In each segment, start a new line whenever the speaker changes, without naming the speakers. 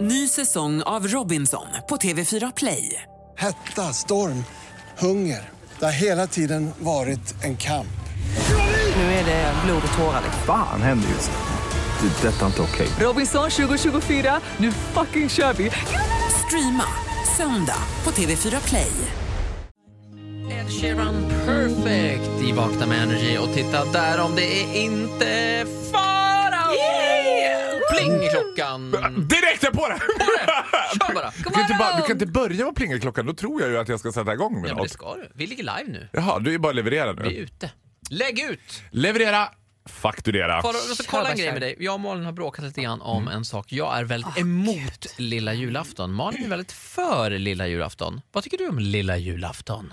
Ny säsong av Robinson på TV4 Play.
Hetta, storm, hunger. Det har hela tiden varit en kamp.
Nu är det blod och tårar. liksom.
Fan händer just nu. Det. är Detta är inte okej.
Robinson 2024, nu fucking kör vi! Streama söndag på TV4 Play.
Ed Sheeran Perfect i Vakna med Energy och titta där om det är inte fara! Pling i klockan!
Direkt jag på det!
Kör bara!
Du kan, inte bara, du kan inte börja med plingelklockan, då tror jag ju att jag ska sätta igång med
Ja, men det
något.
ska du. Vi ligger live nu.
Jaha, du är bara leverera
Vi är
nu.
ute. Lägg ut!
Leverera, fakturera.
Faro, jag måste kolla en grej med dig. Jag och Malin har bråkat lite grann om en sak. Jag är väldigt emot lilla julafton. Malin är väldigt för lilla julafton. Vad tycker du om lilla julafton?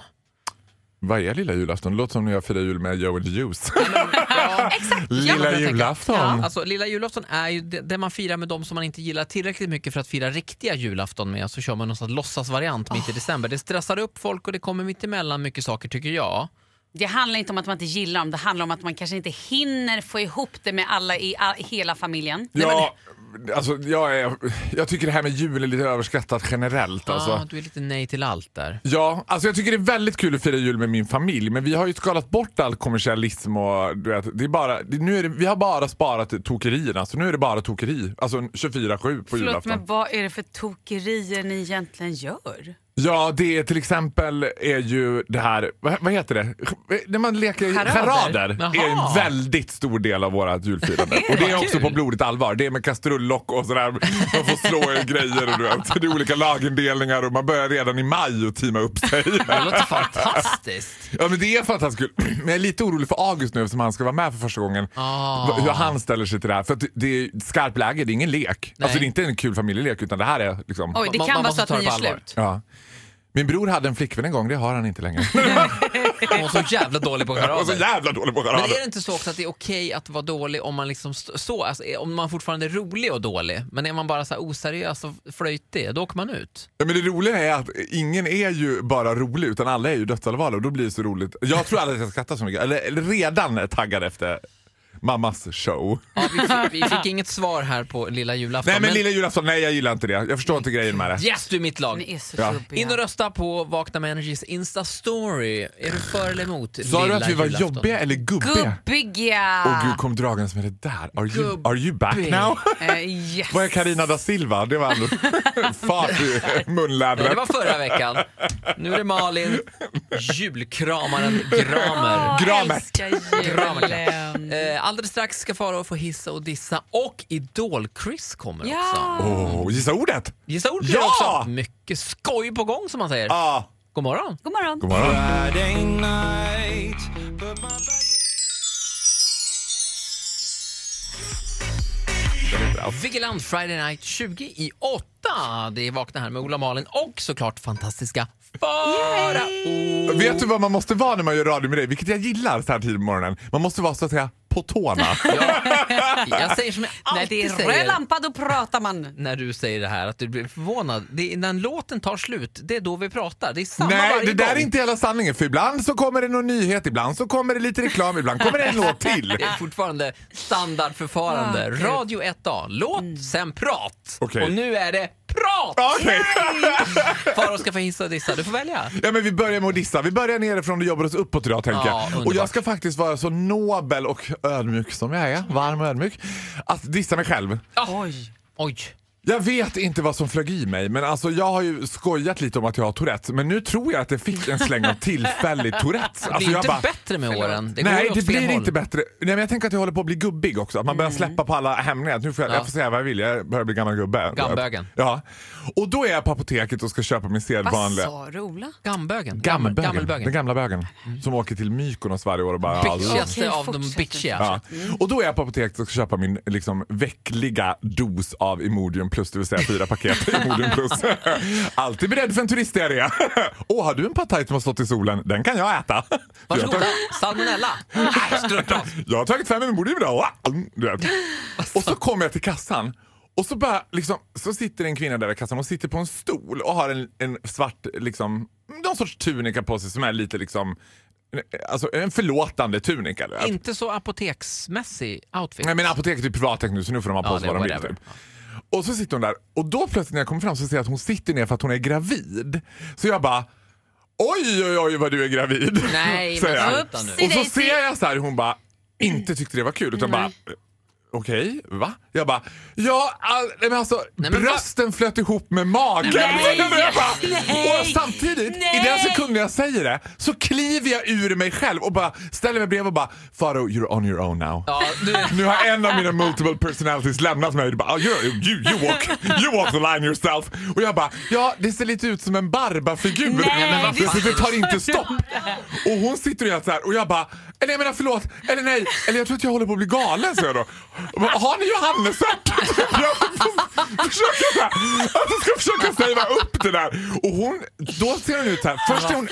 Vad är lilla julafton? Det låter som när jag firar jul med Joe and the Juice.
Exakt!
lilla julafton.
Ja, alltså, lilla julafton är ju det, det man firar med de som man inte gillar tillräckligt mycket för att fira riktiga julafton med. Så kör man någon sån här låtsasvariant mitt i december. Det stressar upp folk och det kommer mitt emellan mycket saker tycker jag.
Det handlar inte om att man inte gillar dem, det handlar om att man kanske inte hinner få ihop det med alla i all, hela familjen.
Ja, alltså, jag, är, jag tycker det här med jul är lite överskattat generellt.
Ah,
Alltså.
du är lite nej till allt där.
Ja, alltså jag tycker det är väldigt kul att fira jul med min familj men vi har ju skalat bort all kommersialism och du vet, det är bara, det, nu är det, vi har bara sparat tokerierna så nu är det bara tokeri. Alltså 24-7 på
Förlåt,
julafton.
men vad är det för tokerier ni egentligen gör?
Ja, det är till exempel är ju det här, vad, vad heter det? När man leker
Charader.
charader, är
Jaha.
en väldigt stor del av vårt julfirande. och det är också
Kul.
på blodigt allvar. Det är med kastrullock och sådär. Man får slå i grejer och du vet. Det är olika lagindelningar och man börjar redan i maj och teama upp sig.
Det låter fantastiskt.
Ja men det är fantastiskt kul. Men jag är lite orolig för August nu eftersom han ska vara med för första gången.
Ah.
Hur han ställer sig till det här. För att det är skarpt läge, det är ingen lek.
Nej.
Alltså det är inte en kul familjelek utan det här är liksom...
Oj, det
Man-
kan
man
vara
måste
så att
ta det
ni
på
gör
allvar.
slut.
Ja. Min bror hade en flickvän en gång, det har han inte längre.
Hon var så jävla dålig på
Jag var så
charader.
jävla dålig på
Men är
charader.
det inte så också att det är okej att vara dålig om man liksom st- så, alltså, är- om man fortfarande är rolig och dålig, men är man bara så här oseriös och flöjtig, då åker man ut.
Ja, men det roliga är att ingen är ju bara rolig utan alla är ju dödsallvarliga och då blir det så roligt. Jag tror alla ska skratta så mycket, eller, eller redan är taggade efter mammas show.
Ja, vi, fick, vi fick inget svar här på lilla julafton.
Nej men,
men-
lilla julafton, nej jag gillar inte det. Jag förstår inte grejen med det.
Yes, du är mitt lag.
Ni är så
Ja.
In och
jobbiga.
rösta på Vakna med Energys Insta-story. Är du för eller emot
Sa du
lilla
att vi var
julafton?
jobbiga eller gubbiga?
Gubbiga!
Åh gud, kom dragandes med det där. Are you, are you back
Gubbig.
now?
Eh, yes.
Vad är Carina da Silva? Det var ändå fart i
Nej,
munlädret.
Det var förra veckan. Nu är det Malin, julkramaren Gramer.
Gramet.
älskar julen.
Mm.
Eh, Alldeles strax ska Faro få hissa och dissa och Idol-Chris kommer också.
Ja.
Åh, gissa ordet!
Gissa ord
Ja!
också. Mycket skoj på gång som man säger.
Ah,
God morgon.
God morgon.
god morgon.
Vigilant Friday Night 20 i 8. Det är Vakna här med Ola Malin och såklart fantastiska Farao.
Vet du vad man måste vara när man gör radio med dig? Vilket jag gillar så här tidigt på morgonen. Man måste vara så att säga på tårna.
Jag säger som jag
När
alltid
det är
säger.
röd lampa då pratar man.
när du säger det här, att du blir förvånad. Det är när låten tar slut, det är då vi pratar. Det är samma
Nej,
varje
det där
gång.
är inte hela sanningen. För ibland så kommer det någon nyhet, ibland så kommer det lite reklam, ibland kommer det en låt till.
Det
Ah.
är fortfarande standardförfarande. Radio 1A, låt
Mm.
sen prat.
Okej.
Och nu är det prat!
Okej.
Farao ska få hissa och dissa, du får välja.
Ja, men vi börjar med att dissa. Vi börjar nerifrån och jobbar oss uppåt idag. Tänker
Ja,
jag. Och
underbart.
jag ska faktiskt vara så nobel och ödmjuk som jag är, varm och ödmjuk, att dissa mig själv.
Oj.
Oj.
Jag vet inte vad som flög i mig, men alltså jag har ju skojat lite om att jag har Tourettes, men nu tror jag att jag fick en släng av tillfällig Tourettes.
Det
Alltså,
blir
jag
inte
bara-
bättre med åren. Det går
Nej,
åt
det
fel
blir
håll. Mm.
inte bättre. Nej, men jag tänker att jag håller på att bli gubbig också. Att man börjar släppa på alla hämningar. Att Nu får jag,
Ja.
jag får säga vad jag vill, jag börjar bli gammal gubbe.
Gambögen.
Ja. Och då är jag på apoteket och ska köpa min
Vad
sedvanliga...
sa du Ola?
Gambögen. Gammel-
Gammelbögen.
Gammelbögen.
Den gamla bögen. Som åker till Mykonos varje år och bara... ja,
Bitchigaste
Okej,
av de
fortsätt.
bitchiga.
Ja. Och då är jag på apoteket och ska köpa min liksom, veckliga dos av Imodium plus, det vill säga fyra paket Imodium plus. Alltid beredd för en turistserie. Åh, har du en pad thai som har stått i solen? Den kan jag äta. Jag har
Varsågoda,
tagit-
salmonella. Nej, strunt prat.
jag har tagit fem Imodium idag. Wow! Mm, Du vet. Och så kommer jag till kassan. Och så, bara, liksom, så sitter en kvinna där vid kassan och sitter på en stol och har en, en svart, liksom, någon sorts tunika på sig som är lite liksom, alltså en förlåtande tunika. du vet.
Inte så apoteksmässig outfit.
Nej men apoteket är privatägt nu så nu får de ha på
Ja,
sig
det är
vad de vill.
whatever.
Typ. Och så sitter hon där och då plötsligt när jag kommer fram så ser jag att hon sitter ner för att hon är gravid. Så jag bara Oj, oj, oj vad du är gravid.
Nej,
säger
men
jag.
sluta nu.
Och så ser jag så här hur hon bara inte tyckte det var kul utan bara Okej, va? Jag bara, ja, all, nej, men alltså
Nej, men
brösten flöt ihop med magen.
Nej,
men jag bara,
nej,
och samtidigt, i
nej.
den sekunden jag säger det, så kliver jag ur mig själv och bara ställer mig bredvid och bara, Faro, you're on your own now.
Ja, nu,
Nu har en av mina multiple personalities lämnat mig. Du bara, "Ah, you, you, you, walk, you walk the line yourself. Och jag bara, ja det ser lite ut som en Barba-figur.
Nej,
men vad
det-
fan, det tar inte stopp. Och hon sitter helt så här och jag bara, eller jag menar förlåt, eller nej, eller jag tror att jag håller på att bli galen så jag då. Och bara, Har ni Johannesört? Jag får försöka så här, att jag ska försöka säga upp det där. Och hon, då ser hon ut så här, först är hon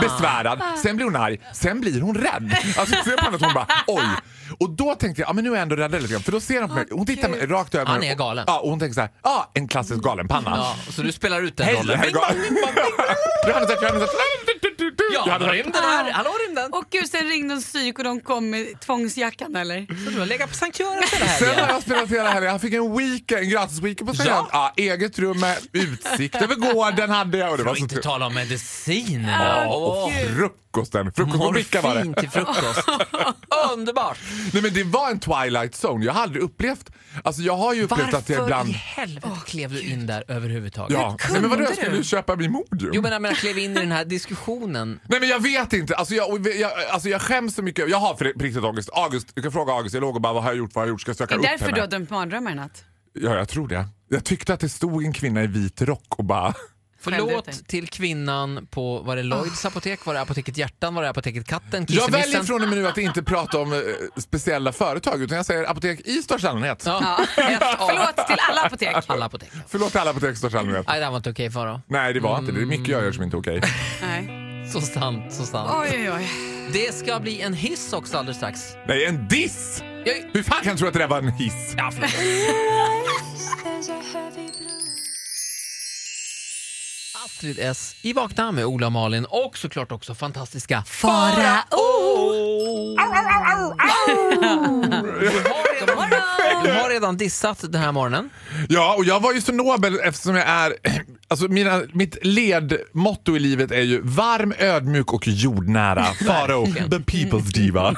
besvärad, sen blir hon arg, sen blir hon rädd. Alltså ser på henne att hon bara, oj. Och då tänkte jag, ja men nu är jag ändå rädd lite grann. För då ser hon på mig, hon tittar mig rakt över.
Han är galen.
Ja, och hon tänker så här, ja en klassisk galenpanna.
ja, så du spelar ut den
Hej,
rollen.
hej, gal- Johannesört, Johannesört.
Ja,
Johannesört.
rymden här. Hallå rymden.
Och gud, sen ringde de psyk och de kom med tvångsjackan eller?
Så du har legat på Sankt Göran hela
Sen har
helgen.
jag spelat hela helgen. Han fick en weekend, en gratis weekend på Sälen.
Ja.
Ja. eget rum med utsikt över gården hade Alltså, jag. Och det var
Och
så
inte
trevligt.
tala om
Ah,
mediciner.
Och frukosten.
Mm,
Frukostbricka var det.
Morfin till frukost. Underbart.
Nej, men det var en twilight zone. Jag har aldrig upplevt... Alltså jag har ju upplevt att jag
Varför
ibland...
i helvete klev du in där överhuvudtaget?
Ja. Nej, men vadå, jag skulle ju köpa Imodium.
Jo men jag menar klev in i den här diskussionen.
Nej men jag vet inte. Alltså jag, och jag, alltså jag skäms så mycket. Jag har för- på riktigt ångest. August, du kan fråga August. Jag låg och bara, vad har jag gjort? Vad har jag gjort? Ska jag
Det
söka
är
upp
därför
henne?
du har drömt mardrömmar i natt.
Ja, jag tror det. Jag tyckte att det stod en kvinna i vit rock och bara...
Självdöd, tänk.
Förlåt till kvinnan på, var det Lloyds apotek, var det apoteket Hjärtan, var det apoteket Katten,
Ah. Jag väljer
Kissemissen?
från och med nu att inte prata om eh, speciella företag utan jag säger apotek i största allmänhet.
Ja, ett av
Förlåt till alla apotek.
alla apotek.
Förlåt till alla apotek i största allmänhet.
Nej, det här var inte okej Farao.
Nej det var inte det. Det är mycket jag gör som inte är okej.
Nej.
Så sant, så sant.
Oj, oj, oj.
Det ska bli en hiss också alldeles strax.
Nej en diss!
Jag,
Hur fan kan du tro att det där var en hiss?
ja, förlåt.
There's a heavy blue.
Astrid S i Vakna med Ola och Malin och såklart också fantastiska Du har, du har redan dissat den här morgonen.
Ja och jag var ju så nobel eftersom jag är... Alltså mina, mitt ledmotto i livet är ju varm, ödmjuk och jordnära. Faro, the people's diva.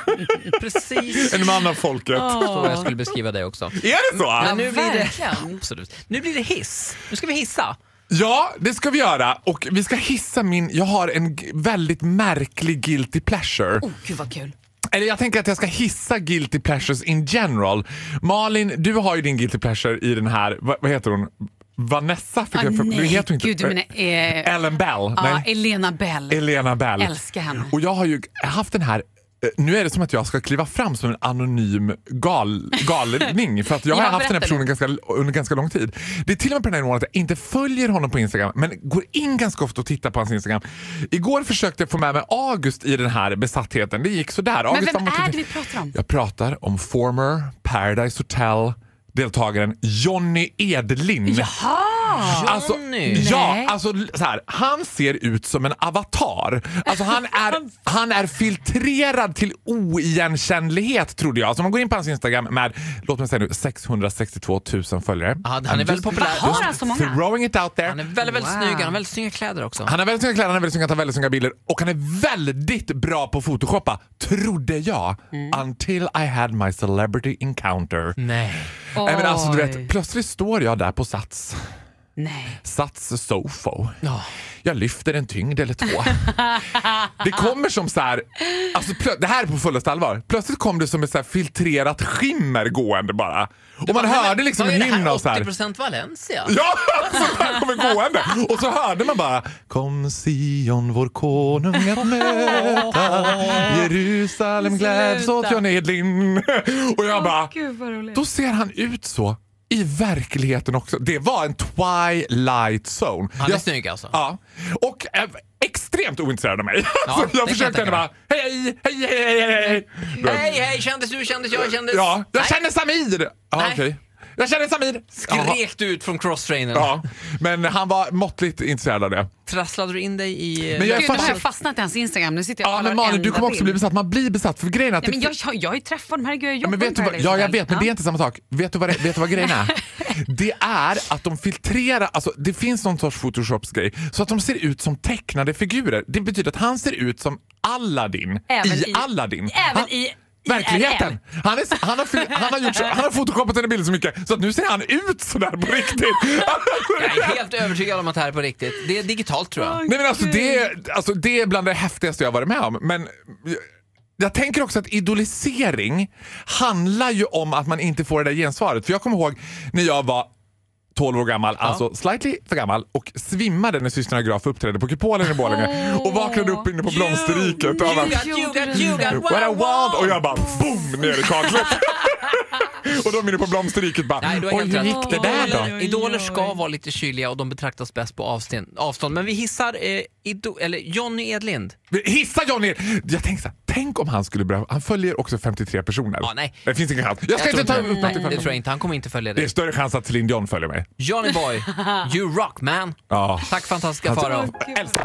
Precis
en man av folket.
så jag skulle beskriva dig också.
Är det så?
Men nu blir det,
verkligen.
absolut. nu blir det hiss. Nu ska vi hissa.
Ja, det ska vi göra. Och vi ska hissa min... Jag har en g- väldigt märklig guilty pleasure.
Oh, gud vad kul.
Eller jag tänker att jag ska hissa guilty pleasures in general. Malin, du har ju din guilty pleasure i den här... Vad, vad heter hon? Vanessa? Fick
Ah,
jag för,
nej,
heter hon
gud, du menar, eh,
Ellen Bell?
Ja,
nej.
Elena Bell.
Elena Bell.
Älskar henne.
Och jag har ju haft den här... eh, Nu är det som att jag ska kliva fram som en anonym gal, galning för att jag har
Ja,
haft den
berätta
här personen ganska, under ganska lång tid. Det är till och med på den här nivån att jag inte följer honom på Instagram men går in ganska ofta och tittar på hans Instagram. Igår försökte jag få med mig August i den här besattheten. Det gick sådär.
Men
August
vem
har mått-
är det vi pratar om?
jag pratar om former Paradise Hotel deltagaren Johnny Edlin. Jaha! Alltså,
Johnny?
Ja,
Nej.
alltså så här, han ser ut som en avatar. Alltså, han, är, han är filtrerad till oigenkännlighet trodde jag. Så om man går in på hans Instagram med, låt mig säga nu, 662 000 följare.
Ja, han är
I'm
väldigt
just
populär.
Vad har han så många?
Throwing it out there.
Han är väldigt, väldigt
Wow.
snygg. Han har väldigt snygga kläder också.
Han har väldigt snygga kläder, han har väldigt snygga, tar väldigt snygga bilder och han är väldigt bra på att photoshoppa, trodde jag.
Mm.
Until I had my celebrity encounter.
Nej.
Nej, men alltså, du
Oj.
vet, plötsligt står jag där på Sats,
Nej.
Sats Sofo.
Ja.
Jag lyfter en tyngd eller två. det kommer som så här, alltså, plö- det här är på fullaste allvar. Plötsligt kom det som ett så här filtrerat skimmer gående bara. Och man hörde liksom en hymn av så här.
80% Valencia.
Ja, så här kommer gående. Och så hörde man bara Kom Sion vår konung att möta Jerusalem gläds åt
Sluta.
John Edlin. Och jag bara
Gud vad roligt.
Då ser han ut så i verkligheten också. Det var en twilight zone.
Han är
Jag-
snygg alltså.
Ja. Och eh, extremt ointresserad av mig. så
det kan
jag
jag
försökte
tänka
ändå bara hej, hej, hej, hej, hej. Du vet.
Hej, hej, kändis du, kändis jag, kändis...
Ja, jag
Nej.
känner Samir! Ja,
Nej.
okej. Jag känner Samir! Jaha.
Skrek du ut från crosstrainern?
Ja, men han var måttligt intresserad av det.
Trasslade du in dig i... eh,
Men jag- är
Gud, nu har jag
fascinerad-
fastnat i hans Instagram. Nu sitter jag och
Ja,
kollar
men Malin, du
varenda
kommer också
bild.
bli besatt. Man blir besatt. För grejen är att
Nej, men
det-
jag, jag, jag har ju träffat dem, herregud. Jag
Ja,
jobbar
men vet du,
med liksom.
vad,
Paradise
ja, jag
Hotel.
vet, men det är inte samma sak. Vet du vad, det, vet du vad grejen är? Det är att de filtrerar, alltså det finns någon sorts photoshops-grej, så att de ser ut som tecknade figurer. Det betyder att han ser ut som Aladdin
Även
i,
i-
Aladdin.
även
han,
i
Verkligheten! Han, är, s- han, har, fil- han, har gjort, så- han har fotokopat en bild så mycket så att nu ser han ut sådär på riktigt.
Jag är helt övertygad om att det här är på riktigt. Det är digitalt tror jag.
Nej men alltså det, är- alltså det är bland det häftigaste jag har varit med om. Men jag, jag tänker också att idolisering handlar ju om att man inte får det där gensvaret. För jag kommer ihåg när jag var 12 år gammal, alltså slightly för gammal och svimmade när systrarna Graf uppträdde på Kupolen i Borlänge och vaknade upp inne på Blomsterriket och bara,
ljugat,
What a world! Och jag bara boom ner i kaklet. och de inne på Blomsterriket bara,
Nej, du har
oj
helt
hur
rätt.
gick det där då?
Idoler- Idoler ska vara lite kyliga och de betraktas bäst på avstånd. avstånd. Men vi hissar eh, ido- eller Johnny Edlind.
Hissa Johnny! Jag tänkte så här, tänk om han skulle börja... Han följer också 53 personer.
Ja, nej.
Det finns ingen chans. Jag ska
tror
inte ta upp
Nej, det
någonting för
tror jag
honom.
inte. Han kommer inte följa
Det är
dig.
större chans att Céline Dion följer mig.
Johnny Boy, you rock man.
Ja.
Tack fantastiska Farao.
Älskar.